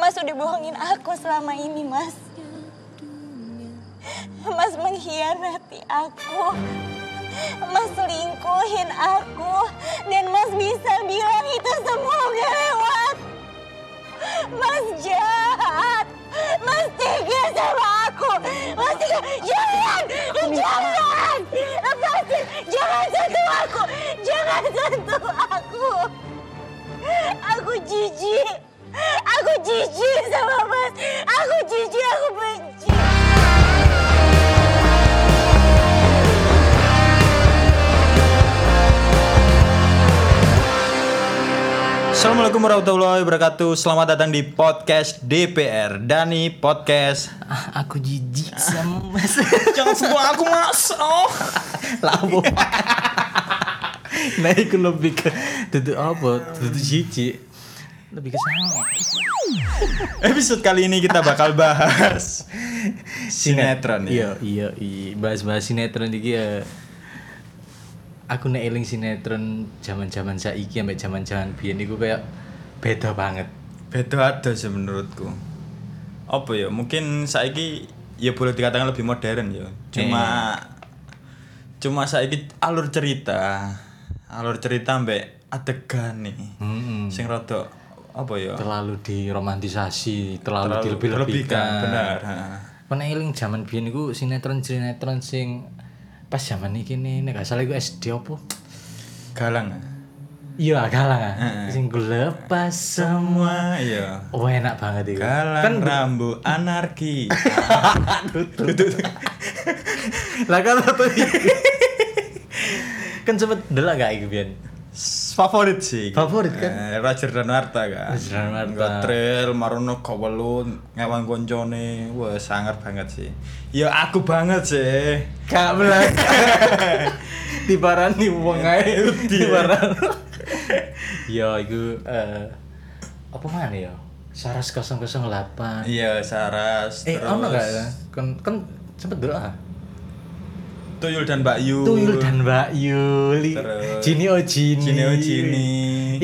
Mas udah bohongin aku selama ini, Mas. Mas mengkhianati aku. Mas selingkuhin aku. Dan Mas bisa bilang itu semua udah lewat. Mas jahat. Mas tiga sama aku. Mas tiga. Jangan. Jangan. Lepasin. Jangan sentuh aku. Jangan sentuh aku. Aku jijik. Aku jijik sama mas. Aku jijik. Aku benci. Assalamualaikum warahmatullahi wabarakatuh. Selamat datang di podcast DPR Dani Podcast. Ah, aku jijik sama mas Jangan sebut aku mas. Oh. labo nah itu lebih ke tutu apa tutu jijik lebih ke sange Episode kali ini kita bakal bahas sinetron ya. iya iya iya bahas bahas sinetron iki ya aku nek eling sinetron zaman zaman saiki sampai zaman zaman biyen iku kayak beda banget Beda ada sih menurutku. Apa ya? Mungkin saiki ya boleh dikatakan lebih modern ya. Cuma cuma saiki alur cerita, alur cerita mbek adegan nih. Mm-mm. Sing rada apa ya? terlalu diromantisasi terlalu, Terlalu dilebih-lebihkan benar. ha. Pernah eling jaman biyen iku sinetron-sinetron sing pas jaman iki nih nek gak salah iku SD opo? Galang. ha? Iya, kalah. Sing lepas Wah, semua. iya. Oh, enak banget iku. Kan Galang rambu anarki. lah kan apa iki? kan sempet delak gak iku biyen? Favorit sih. Favorit, kan? Eh, Roger dan Marta kan. Roger dan Marta. Gotrel, Marono Kowelun, ngewan koncone. Wah, sangar banget sih. Ya aku banget sih. Gak belas. Dibarani wong ae dibaran. Ya Iya. iku eh apa mana ya? Saras 008. Iya, Saras. Eh, terus ono gak ya? Kan kan sempet dulu ah. Tuyul dan Mbak Yu. Tuyul dan Mbak Yuli. Terus. Jini oh Jini. Jini oh Jini.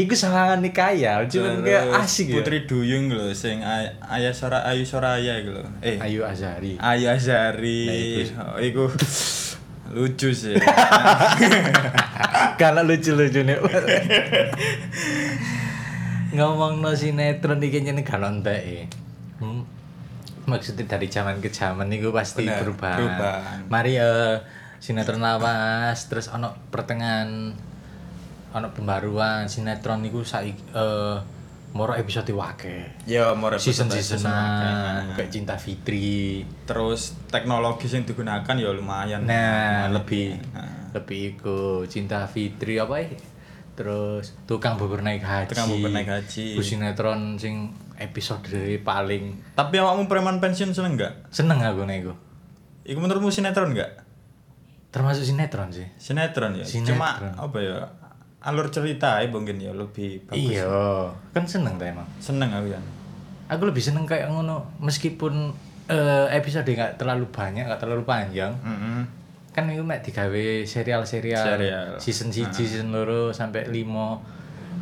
Iku salah nih kaya, Terus iya. cuman kayak asik ya. Putri Duyung lho sing ay- Ayah Sora Ayu Soraya iku lho. Eh, Ayu Azari. Ayu Azari. Nah, iku sih. Oh, iku lucu sih. Karena lucu-lucu nih. Ngomong no sinetron iki nyen gak lontek. Hmm. Maksudnya dari zaman ke zaman niku pasti Bener, berubah. perubahan. Mari eh, sinetron lawas, terus ono pertengahan ono pembaruan sinetron niku saiki eh, moro episode wake. Ya, mau season representasi. seasonan kayak cinta Fitri terus teknologi yang digunakan ya lumayan nah lebih lebih iku cinta Fitri apa ya terus tukang bubur naik haji Tukang Bubur kan Naik Haji. Ku sinetron sing episode paling tapi awakmu preman pensiun seneng nggak seneng aku nih iku. Iku menurutmu sinetron nggak termasuk sinetron sih sinetron ya Sinetron. cuma apa ya alur cerita ya mungkin ya lebih bagus iya kan seneng ta emang seneng aku ya aku lebih seneng kayak ngono meskipun eh, episode nggak terlalu banyak nggak terlalu panjang Mm-mm. kan itu mek digawe serial-serial Serial. Nah. season siji season loro sampai lima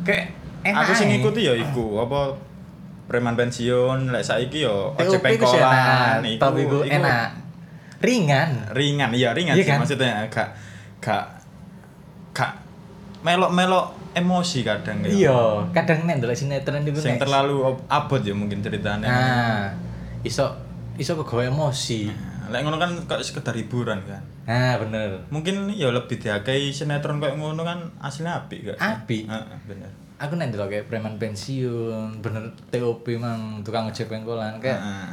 kayak enak aku sih ae. ngikuti ya iku apa preman pensiun lek saiki yo TOP ojek ku sih enak, pengkolan top iku enak ringan ringan iya ringan Iya sih kan? maksudnya gak gak gak melok melok emosi kadang ya. iya kadang nek ndelok sinetron iku sing nek- terlalu ab- abot ya mungkin ceritanya nah iso iso kegawe emosi Lek ngono kan kok sekedar hiburan kan. nah bener Mungkin ya lebih dihargai sinetron kayak ngono kan aslinya apik gak? sih? Apik. Heeh, bener. aku nek ndelok kayak preman pensiun bener TOP mang tukang ojek pengkolan kayak Heeh.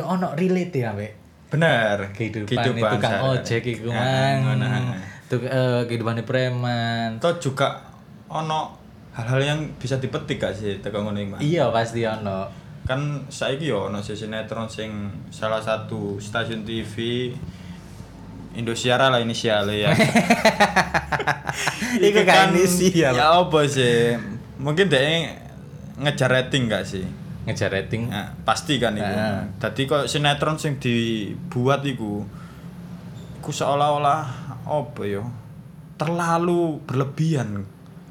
ya ono relate ya ambek Bener. kehidupan, e, tukang sehari-hari. ojek iku Heeh, mang ngono, heeh. tuk eh, kehidupannya preman Atau juga ono hal-hal yang bisa dipetik gak sih teko ngono iki, Mas? iya pasti ono Kan saiki ya ono sih sinetron sing salah satu stasiun TV Indosiara lah inisialnya ya. Iku kan inisial. Ya apa sih? Mungkin dia ngejar rating gak sih? ngejar rating Nah, pasti kan itu. Nah. Tadi kok sinetron sing dibuat iku ku seolah-olah apa ya? Terlalu berlebihan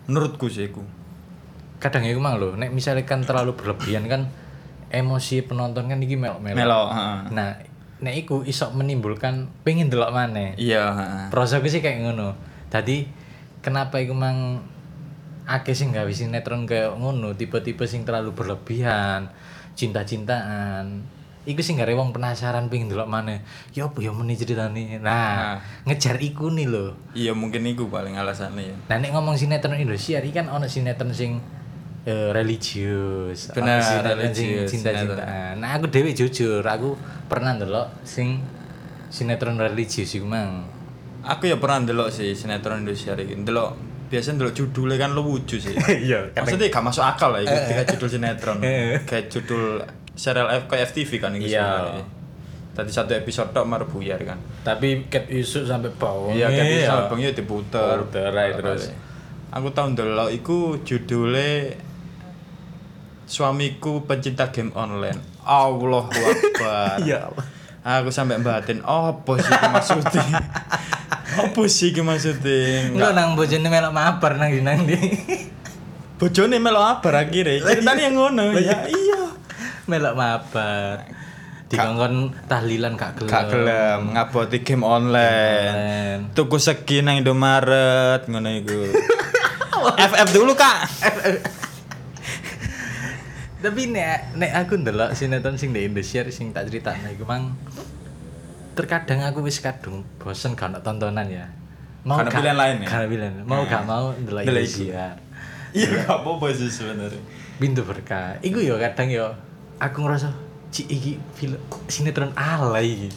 menurutku sih iku. kadang iku mang lho nek misalkan terlalu berlebihan kan emosi penonton kan iki melok-melok. Melo, heeh. Nah, nek iku iso menimbulkan pengen delok maneh. Iya, heeh. Prosoku sih kayak ngono. Tadi kenapa iku mang akeh sing gawe sinetron kayak ngono, tipe-tipe sing terlalu berlebihan, cinta-cintaan. Iku sing gak wong penasaran pengen delok maneh. Ya apa ya meni ceritane. Nah, ngejar iku nih lho. Iya mungkin iku paling alasannya ya. Nah, nek ngomong sinetron Indonesia iki kan ono sinetron sing eh, religius, ono Bener, sinetron sing religius, cinta-cintaan. Nah, aku dhewe jujur, aku pernah ndelok sing sinetron religius iku mang. Aku ya pernah ndelok sih sinetron Indonesia iki. Ndelok biasanya ndelok judulnya kan lucu sih. Iya, Eh, Maksudnya gak masuk akal lah itu kayak judul sinetron. kayak judul serial F kayak FTV kan itu Iya. sebenarnya. Tadi satu episode tok mar buyar kan. Tapi ket isu sampai bau. Iya, Oh, kayak misal Bang yo diputer. Puter ae terus. Aku tau ndelok iku judulnya Suamiku pencinta game online. Allahu Akbar. Iya Allah. Aku sampai batin apa sih iki maksudnya? apa sih iki maksudnya? Enggak nang bojone melok mabar nang nang ndi. Bojone melo abar akhirnya. Ceritanya yang ngono. Ya iya. melok mabar. Dikongkon tahlilan gak gelem. Gak gelem ngaboti game online. Keren. Tuku segi nang Indomaret ngono iku. FF dulu, Kak. Tapi nek nek aku ndelok sinetron sing di Indonesia sing tak critakno iku mang terkadang aku wis kadung bosen gak ono tontonan ya. Gak ono pilihan lain ya? Gak ono pilihan. Mau gak mau ndelok Ndelok iku. Indonesia. Iya, gak apa-apa sih sebenarnya. Pintu berkah. Iku yo kadang yo aku ngerasa cik iki film sinetron ala iki.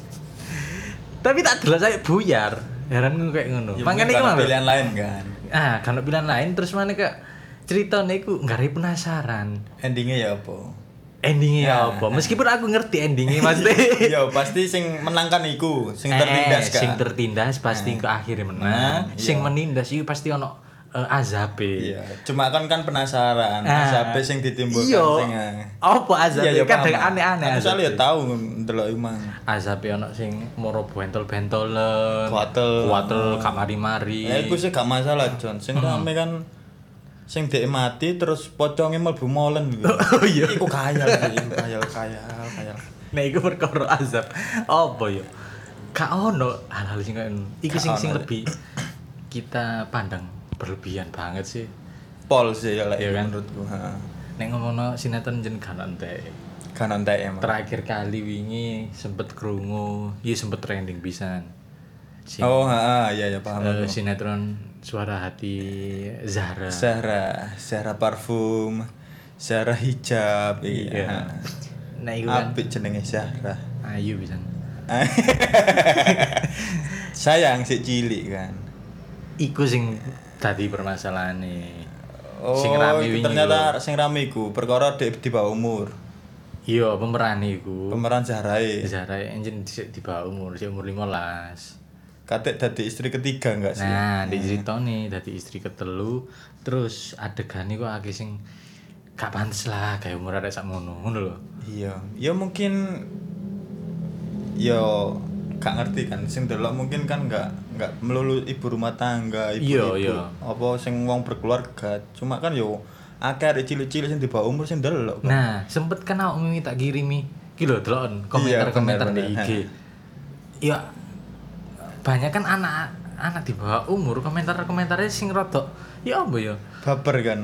Tapi tak delok saya buyar. Heran aku kayak ngono. Ya, mungkin Makane iku karena mang, lho. pilihan lain kan. Ah, gak ono pilihan lain terus mana ke ceritane iku gak ada penasaran. Endingnya ya apa? endingnya apa meskipun aku ngerti endingnya maksudnya ya pasti sing menangkan iku, sing tertindas Eh. Nah, Eh, kan. sing tertindas pasti ke akhirnya menang sing menindas itu pasti ono eh, azabe Iya, cuma kan kan penasaran, Ah. sampai sing ditimbulkan Iya. sing. eh. apa azabe Iya, ya kadang paham. aneh-aneh Aku soalnya azabe ya tahu ndelok imang. azabe ono sing moro bentol-bentolen Kuatel. kuatel kamari-mari Ya iku sih gak masalah, John. Hmm. Sing rame kan sing dhek mati terus pocongnya mlebu molen gitu. Oh, iya. Iku kaya sih, iku kaya kaya kaya. nah iku perkara azab apa yo gak ono hal-hal sing kayak ngono. iku Gak sing sing ono. lebih kita pandang berlebihan banget sih Pol sih ya lek Iya kan? menurutku. Heeh. nek ngomongno sinetron jen gak ono entek. Kan entek emang. terakhir kali wingi sempet krungu ya sempet trending pisan si, Oh, heeh, iya ya paham. eh, sinetron suara hati Zahra Zahra, Zahra parfum, Zahra hijab, Iya. iya. nah iku kan Apik jenenge Zahra. ayu pisan Sayang si cilik kan. iku sing tadi permasalahan nih Oh, sing rame wingi ternyata sing rame iku perkara di, di bawah umur. iku. iya pemeran iku Pemeran e. Zahrae. Zahra enjen dhisik di bawah umur sik umur 15 Katik dadi istri ketiga enggak sih? Nah, di ceritane dadi istri ketelu, terus adegane kok akeh sing gak pantes lah kayak umur arek sakmono, ngono lho. Iya, ya mungkin ya gak ngerti kan sing delok mungkin kan gak nggak melulu ibu rumah tangga, ibu-ibu. Iya, iya. Apa sing wong berkeluarga. Cuma kan yo akeh arek cilik-cilik sing di bawah umur sing delok. kan. Nah, sempet kan awak mimi tak kirimi. Ki lho delok Iya, komentar-komentar di bener, IG. Ya banyak kan anak anak di bawah umur komentar-komentarnya sing rodok ya apa ya? Baper kan.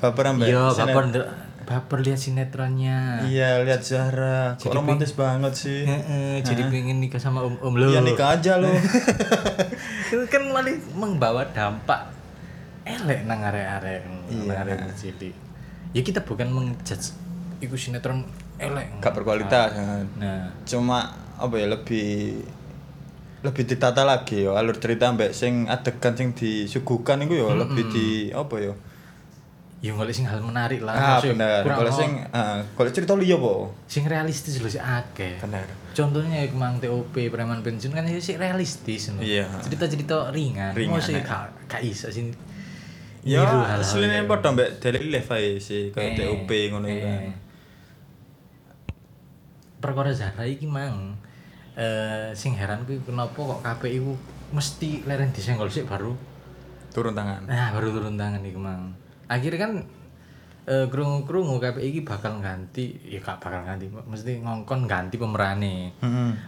Baper ambek Ya sinet- baper ndelok- baper lihat sinetronnya. Iya, lihat Zahra. Kok romantis banget sih. Heeh, jadi pengen nikah sama om-om lho. Ya Iya. nikah aja Eh. lo. Itu kan malah membawa dampak elek nang arek-arek, Iya. nang arek cilik. Ya kita bukan mengjudge iku sinetron elek. gak berkualitas. kan. Nah, Cuma apa ya lebih lebih ditata lagi yo alur cerita mbak sing adegan sing disuguhkan itu yo lebih di apa yo ya golek sing hal menarik lah ah bener Maksudnya kurang kalau ono- sing ah, kalau cerita liya po sing realistis lho sih akeh bener contohnya ya kemang TOP preman pensiun kan ya sih realistis lho Iya. cerita-cerita ringan Ringan, eh. mau sih ya. gak gak iso sih ya niru hal-hal aslinya yang- padha mbak Daily Life ae sih kayak Eh, TOP ngono eh. kan perkara Zahra iki mang eh sing heran kuwi kenapa kok KPI ku mesti leren disenggol sik baru turun tangan Eh. Nah, baru turun tangan nih kemang. Akhirnya kan eh krungu-krungu kabeh iki bakal ganti ya gak bakal ganti mesti ngongkon ganti pemerane.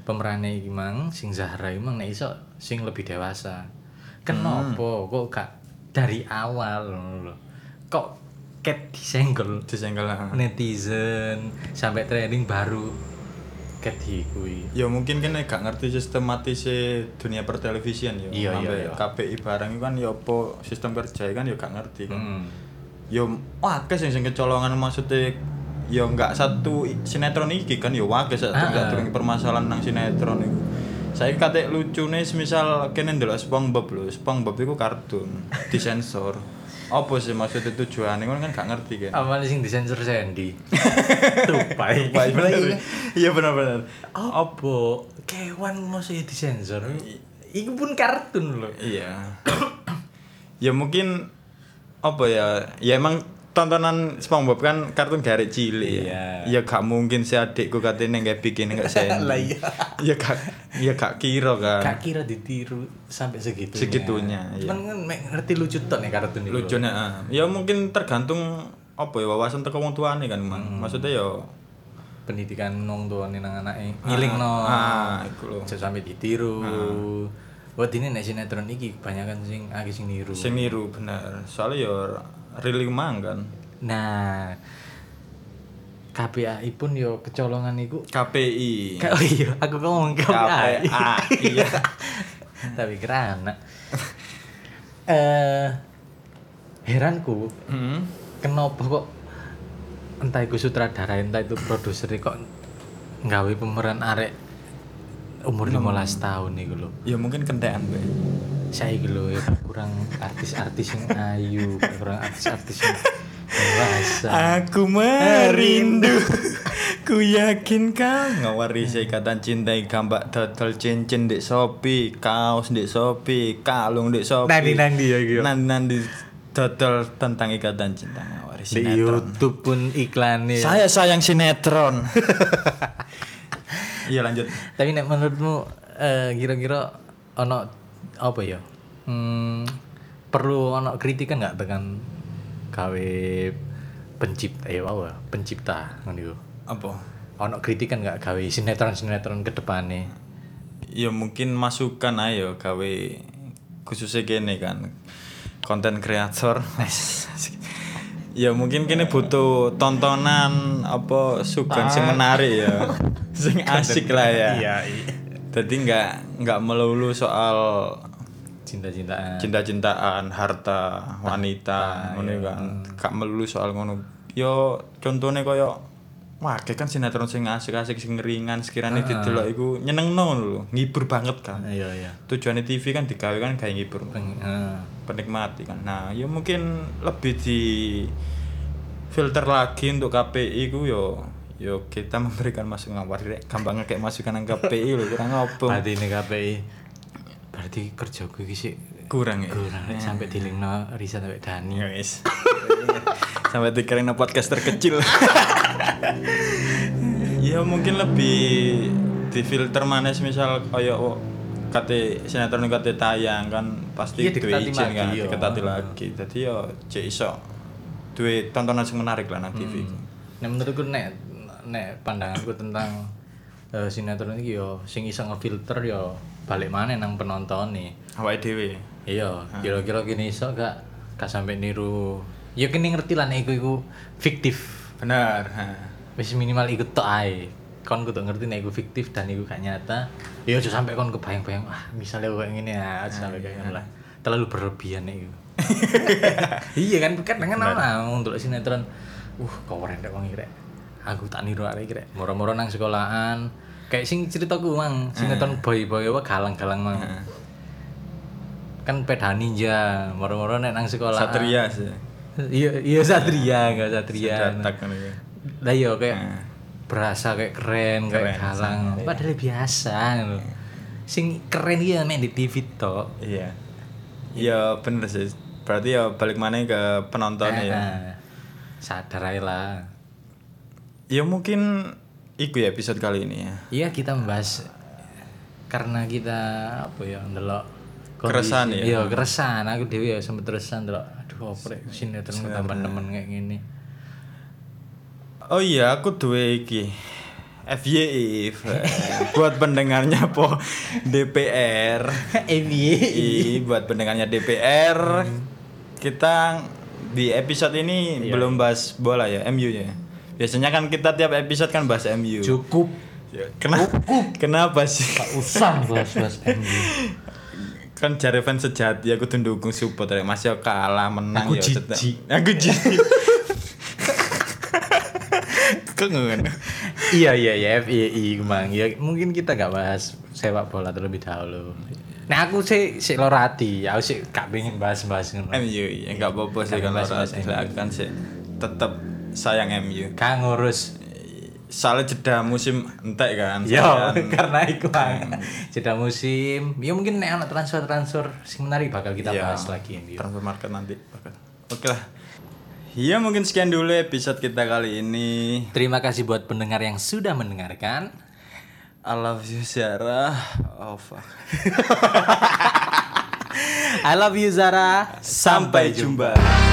Pemerane iki mang sing Zahra iki mang nek iso sing lebih dewasa. Kenapa kok gak dari awal ngono lho. Kok ket disenggol Disenggol. ah. netizen sampai trending baru ket dikui. Ya mungkin kan gak ngerti sistematis dunia pertelevisian ya. Iya, iya, Sampai iya. KPI barang itu kan ya apa sistem kerja kan ya gak ngerti kan. Hmm. Ya akeh sing sing kecolongan maksudnya ya nggak satu i- sinetron iki kan ya akeh satu Ah, ah. nggak turun permasalahan nang sinetron itu. Saya kate lucune semisal kene ndelok SpongeBob lho, SpongeBob iku kartun disensor. Apa sih maksudnya tujuannya kan gak ngerti kan. Awalnya sing disensor Sandy. Tupai. Baik bener. Iya bener-bener. Apa kewan masih disensor? Iku pun kartun loh. Iya. ya mungkin apa ya? Ya emang tontonan SpongeBob kan kartun garek cilik. ya. Ya gak mungkin si adikku katanya nggak bikin nggak sen. Lah iya. Ya gak ya gak kira kan. Gak kira ditiru sampai segitunya. Segitunya, iya. Cuman kan mek ngerti lucu ton ya kartun itu. Lucunya. ah. Ya mungkin tergantung apa ya wawasan teko wong tuane kan, Mang. Hmm. Maksudnya ya Pendidikan nong tuane nang anake ngiling no. Ah, iku lho. Aja sampai ditiru. Wah, ini nek sinetron iki kebanyakan sing akeh sing niru. sing niru bener. Soalnya ya riling mang kan. Nah, KPAI pun yo kecolongan iku. KPI. Ka- Oh iya, aku ngomong KPAI. iya. Tapi kira anak. Eh heranku Hmm. kenapa kok entah itu sutradara entah itu produser kok nggawe pemeran arek umur 15 tahun iku lho. Ya mungkin kentekan Mbak. Saya iku lho ya kurang artis-artis yang ayu, kurang artis-artis yang dewasa. Aku merindu Ku yakin kau Ngawarisi ikatan cinta Gambak dodol cincin di Shopee Kaos di Shopee Kalung di Shopee Nanti-nanti ya, gitu. Nanti-nanti dodol tentang ikatan cinta Ngawarisi Di YouTube pun iklannya. Saya sayang sinetron Iya lanjut Tapi nek menurutmu eh, kira-kira ono apa ya? Hmm, perlu ono kritikan nggak tekan gawe pencipta ya apa pencipta ngono iku. Apa? Ono kritikan nggak gawe sinetron-sinetron ke depane? Ya mungkin masukan ayo gawe khususnya gini kan konten kreator ya mungkin kini butuh tontonan apa sugan sing menarik ya sing asik lah ya iya. jadi nggak nggak melulu soal Cinta-cintaan. cinta-cintaan harta iya. wanita ngono kan gak melulu soal ngono yo contohnya koyo wah kayak kan sinetron sing asik-asik sing ringan sekiranya didelok iku nyenengno ngono lho ngibur banget kan Iya iya. tujuannya TV kan digawe kan kayak ngibur Peng- eh. penikmati kan nah ya mungkin lebih di filter lagi untuk KPI ku yo yo kita memberikan masukan wah rek, gampangnya kayak masukan nang KPI lho kurang apa Berarti ini KPI. Berarti kerja gue iki sih kurang ya kurang sampai dilingno riset sampai Dani. Ya wis. Sampai dikirain podcast terkecil. ya mungkin lebih difilter manis misal kayak oh, kate sinetron yang kate tayang kan pasti Iya, diketati duwe izin kan lagi, yo. diketati lagi. Jadi ya cek iso duwe tontonan sing menarik lah nang TV. Nah menurutku nek nek pandanganku tentang eh, sinetron iki yo sing iso ngefilter yo balik maneh nang penonton nih. Awake dhewe. Iya, kira-kira gini iso gak gak sampai niru. Ya kene ngerti lah nek iku iku fiktif. Bener. ha. Wis minimal iku tok ae. Kon kudu ngerti nek iku fiktif dan iku gak nyata. Ya aja sampai kon kebayang-bayang ah misalnya kayak ngene ya, aja sampai kayak ngono lah. Terlalu berlebihan nek iku. iya kan kadang kan ana untuk sinetron. Uh, keren rek wong iki rek. Aku tak niru arek iki rek. Moro-moro nang sekolahan. Kayak sing ceritaku mang, sinetron boy-boy apa galang-galang mang. kan peda ninja, moro-moro nek nang sekolahan. Satria sih. Iya, iya Satria, enggak Satria. Cetak kan iki. Lah iya kayak berasa kayak keren, Nah. kayak Keren, galang. Padahal biasa lho. Sing keren iki ya main di TV tok. Iya. Ya bener sih. Berarti ya balik maneh ke penontonnya ya. Nah, sadar ae lah. Ya mungkin iku ya episode kali ini ya. Iya, kita membahas karena kita apa ya ndelok kondisi- Keresahan ya? Iya, keresahan. Aku dhewe ya sempet keresahan ndelok aduh oprek sinetron ketambah nemen kayak gini. Oh iya, aku duwe iki. E, FYI buat pendengarnya po DPR. Eh, Ini I, buat pendengarnya DPR. Hmm. Kita di episode ini Iya. belum bahas bola ya, MU ya. Biasanya kan kita tiap episode kan bahas MU. cukup Ya, kena- kenapa sih? Gak usah bahas-bahas MU. kan jare fans sejati aku tuh dukung support rek masih kalah menang Aku ya jijik. tetep. aku jijik kengen iya iya iya FII kemang ya mungkin kita gak bahas sepak bola terlebih dahulu nah aku sih sih lorati aku sih gak pengen bahas-bahas ngono MU ya nggak apa-apa sih Jangan kalau bahas-bahas Rati lah, kan sih tetep sayang MU gak ngurus soalnya jeda musim entek kan Yo, Soalnya- Iya, karena iku Bang. jeda musim. Ya mungkin nek ana transfer-transfer sing menarik bakal kita Iya, bahas lagi ya. transfer market nanti bakal. oke lah ya mungkin sekian dulu episode kita kali ini Terima kasih buat pendengar yang sudah mendengarkan. I love you Sarah oh fuck I love you Zara. sampai jumpa.